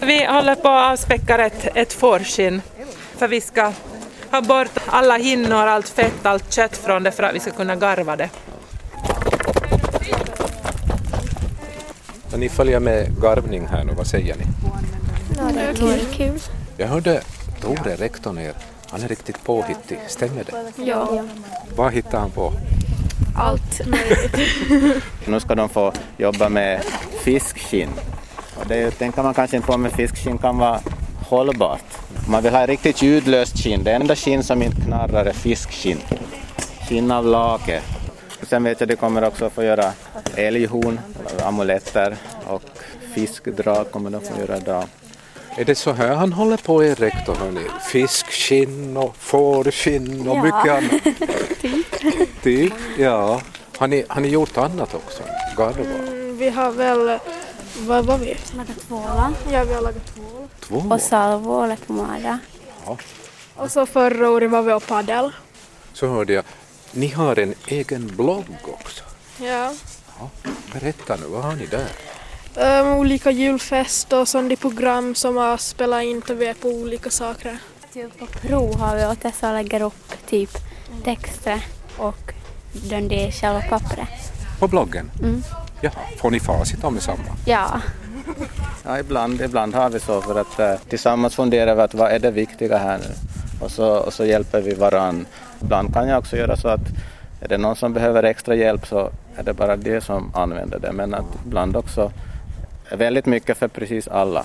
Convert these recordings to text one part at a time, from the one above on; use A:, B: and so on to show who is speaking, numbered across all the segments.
A: Vi håller på att avspäcka ett, ett fårskinn för vi ska ha bort alla hinnor, allt fett, allt kött från det för att vi ska kunna garva det.
B: När ni följer med garvning här nu, vad säger ni?
C: Det vore kul.
B: Jag hörde Tore, rektorn er, han är riktigt påhittig, stämmer det?
C: Ja.
B: Vad hittar han på?
C: Allt möjligt.
D: Nu ska de få jobba med fiskskinn. Och det är ju- tänker man kanske inte på, men fiskskinn kan vara hållbart. Man vill ha riktigt ljudlöst skinn. Det enda skinn som inte knarrar är fiskskinn. Skinn av lake. Sen vet jag att de kommer också få göra älghorn, amuletter och fiskdrag kommer de få göra idag.
B: Är det så här han håller på er rektor, hörni? Fiskskinn och fårskinn och mycket annat? typ. Typ, ja. Har ni, har ni gjort annat också? Garva?
C: Vi har väl, vad var vi?
E: Lagat tvåla
C: Ja, vi har lagat tvål.
B: Två?
E: och salvo och läppomada.
C: Och så förra året var vi och paddel.
B: Så hörde jag, ni har en egen blogg också.
C: Ja.
B: Ja. Berätta nu, vad har ni där?
C: Ehm, olika julfester och sånt i program som har spelat in TV på olika saker.
E: Typ på prov har vi åt så lägger upp typ texter och den det är själva pappret.
B: På bloggen? Mm. Jaha, får ni facit om detsamma?
E: Ja,
D: Ja, ibland, ibland har vi så för att eh, tillsammans fundera över att vad är det viktiga här nu? Och så, och så hjälper vi varann. Ibland kan jag också göra så att är det någon som behöver extra hjälp så är det bara det som använder det. Men att ibland också väldigt mycket för precis alla.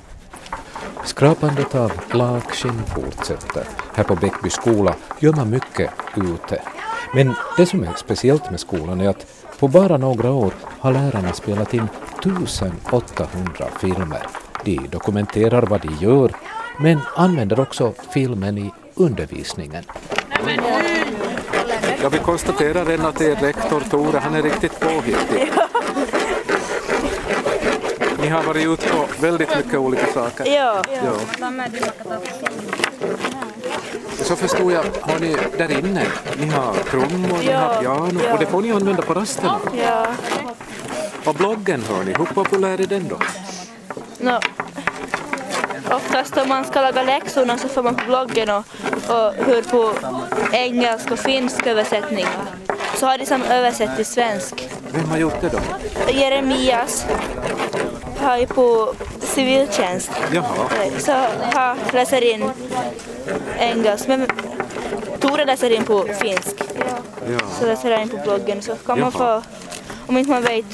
B: Skrapandet av lagskinn fortsätter. Här på Bäckby skola gör man mycket ute. Men det som är speciellt med skolan är att på bara några år har lärarna spelat in 1800 filmer. De dokumenterar vad de gör, men använder också filmen i undervisningen. Ja, vi konstaterar redan att er rektor Tore, han är riktigt påhittig. Ni har varit ute på väldigt mycket olika saker. Ja. Så förstod jag, har ni där inne, ni har trummor, ni har piano och det får ni använda på rasterna.
C: Ja.
B: Och bloggen hör ni, hur populär är den då?
F: No, oftast om man ska laga läxorna så får man på bloggen och, och hör på engelsk och finsk översättning. Så har de som översatt till svensk.
B: Vem har gjort det då?
F: Jeremias har ju på civiltjänst.
B: Jaha,
F: Så han läser in engelsk. Men Tore läser in på finsk.
B: ja.
F: Så läser han in på bloggen. Så kan man
B: Jaha.
F: få, om inte man vet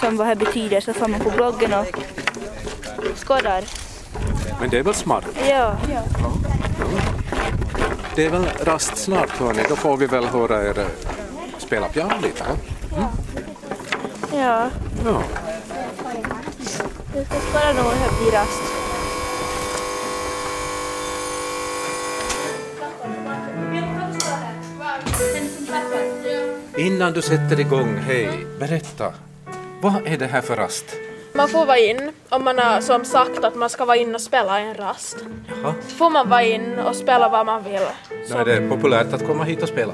F: som vad det betyder så får man på bloggen och skådar.
B: Men det är väl smart?
F: Ja.
B: Det är väl rast snart hörni, då får vi väl höra er eh, spela piano lite. va?
F: Ja,
B: Ja.
F: vi ska spara nog här blir rast.
B: Innan du sätter igång, hej, berätta. Vad är det här för rast?
C: Man får vara in om man har som sagt att man ska vara in och spela en rast.
B: Jaha,
C: Får man vara in och spela vad man vill.
B: då är det populärt att komma hit och spela.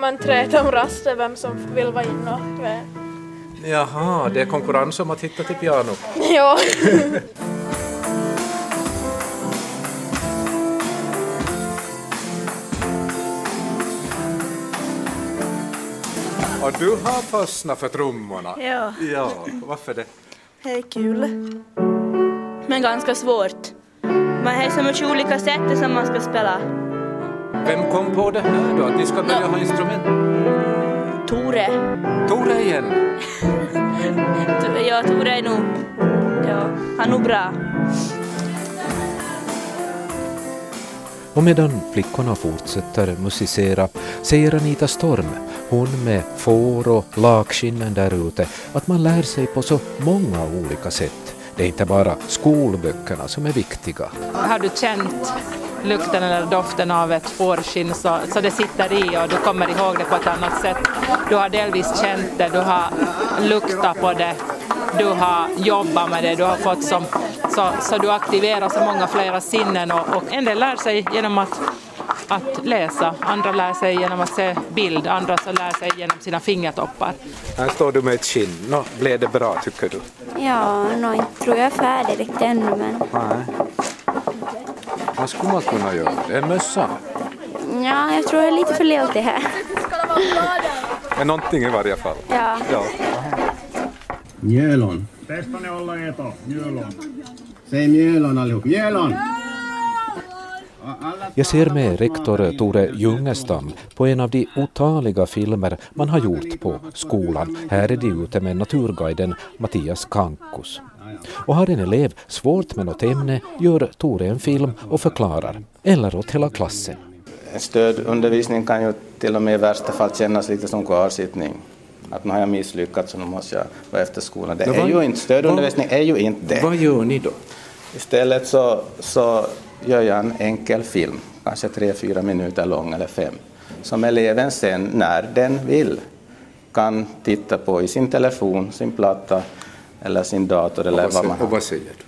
C: Man träter om raster vem som vill vara in och... du vet.
B: Jaha, det är konkurrens om att hitta till piano.
C: Ja.
B: Och du har fastnat för trummorna?
F: Ja.
B: Ja, varför det?
F: Det är kul. Men ganska svårt. Man har så mycket olika sätt som man ska spela.
B: Vem kom på det här då, att ni ska börja ha instrument?
F: Tore.
B: Tore igen!
F: T- Ja, Tore är nog... Ja, han är nog bra.
G: Och medan flickorna fortsätter musicera säger Anita Storm, hon med får och lakskinnen där ute, att man lär sig på så många olika sätt. Det är inte bara skolböckerna som är viktiga.
A: Har du känt lukten eller doften av ett fårskinn så, så det sitter i och du kommer ihåg det på ett annat sätt. Du har delvis känt det, du har luktat på det, du har jobbat med det, du har fått som, så, så du aktiverar så många flera sinnen och, och en del lär sig genom att att läsa. Andra lär sig genom att se bild, andra så lär sig genom sina fingertoppar.
B: Här står du med ett skinn. Nå, blev det bra tycker du?
E: Ja, nå, inte tror jag är färdig riktigt ännu men
B: Nej. Vad skulle man kunna göra? Det är mössa.
E: ja, jag tror jag är lite för ledig här.
B: Men någonting i varje fall.
E: Ja.
B: Ja.
H: Mjölon.
I: Testa ne olla eto, mjölon.
H: Säg mjölon allihop. Mjölon!
G: Jag ser med rektor Tore Jungestam på en av de otaliga filmer man har gjort på skolan. Här är de ute med naturguiden Mattias Kankus. Och har en elev svårt med något ämne gör Tore en film och förklarar, eller åt hela klassen.
D: En stödundervisning kan ju till och med i värsta fall kännas lite som kvarsittning. Att nu har jag misslyckats så nu måste jag vara efter skolan. Det
B: Men
D: är
B: vad-
D: ju inte, stödundervisning är ju inte det.
B: Vad gör ni då?
D: Istället så, så gör jag en enkel film, kanske tre, fyra minuter lång eller fem, som eleven sen när den vill kan titta på i sin telefon, sin platta eller sin dator eller vad man
B: Och
D: har.
B: vad säger du?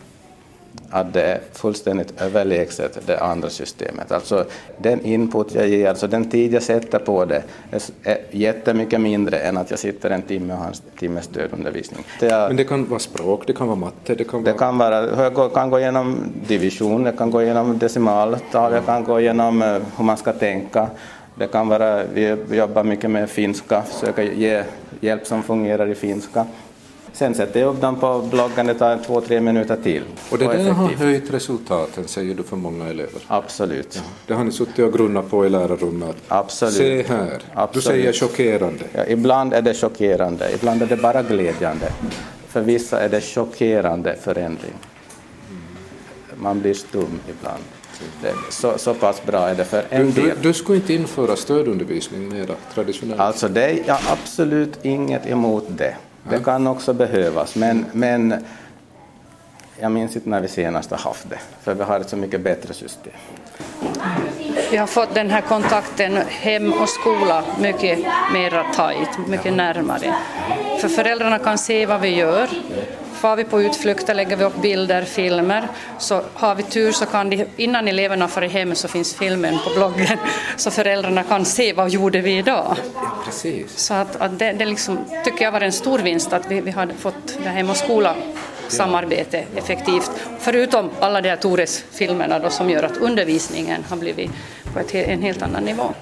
D: Att det är fullständigt överlägset det andra systemet. Alltså den input jag ger, alltså den tid jag sätter på det, är s- är jättemycket mindre än att jag sitter en timme och har en timme stödundervisning. Det är-
B: Men det kan vara språk, det kan vara matte, det kan
D: det
B: vara...
D: kan, vara, jag går- kan gå igenom division, det kan gå igenom decimaltal, det kan gå igenom eh, hur man ska tänka. Det kan vara, vi jobbar mycket med finska, försöker ge hjälp som fungerar i finska. Sen sätter jag upp dem på bloggen, det tar två, tre minuter till.
B: Och det där har
D: effektivt.
B: höjt resultaten, säger du, för många elever.
D: Absolut.
B: Det har ni suttit och grunnat på i lärarrummet.
D: Absolut.
B: Se här. Du
D: Absolut.
B: säger chockerande.
D: Ja, ibland är det chockerande, ibland är det bara glädjande. För vissa är det chockerande förändring. Man blir stum ibland. Det, så, så pass bra är det för
B: Du,
D: en
B: du,
D: del.
B: du skulle inte införa stödundervisning mera traditionellt?
D: Alltså det är jag absolut inget emot det. Det kan också behövas, men, men jag minns inte när vi senast har haft det, för vi har ett så mycket bättre system.
J: Vi har fått den här kontakten hem och skola mycket mer tajt, mycket närmare. För föräldrarna kan se vad vi gör. Far vi på utflykter lägger vi upp bilder, filmer. Så har vi tur så kan de, innan eleverna far hem så finns filmen på bloggen så föräldrarna kan se vad gjorde vi idag.
B: Ja, precis.
J: Så att, att det, det liksom, tycker jag var en stor vinst att vi, vi har fått det här hem och skola samarbete effektivt. Förutom alla de här Tores filmerna då, som gör att undervisningen har blivit på ett, he- en helt annan nivå.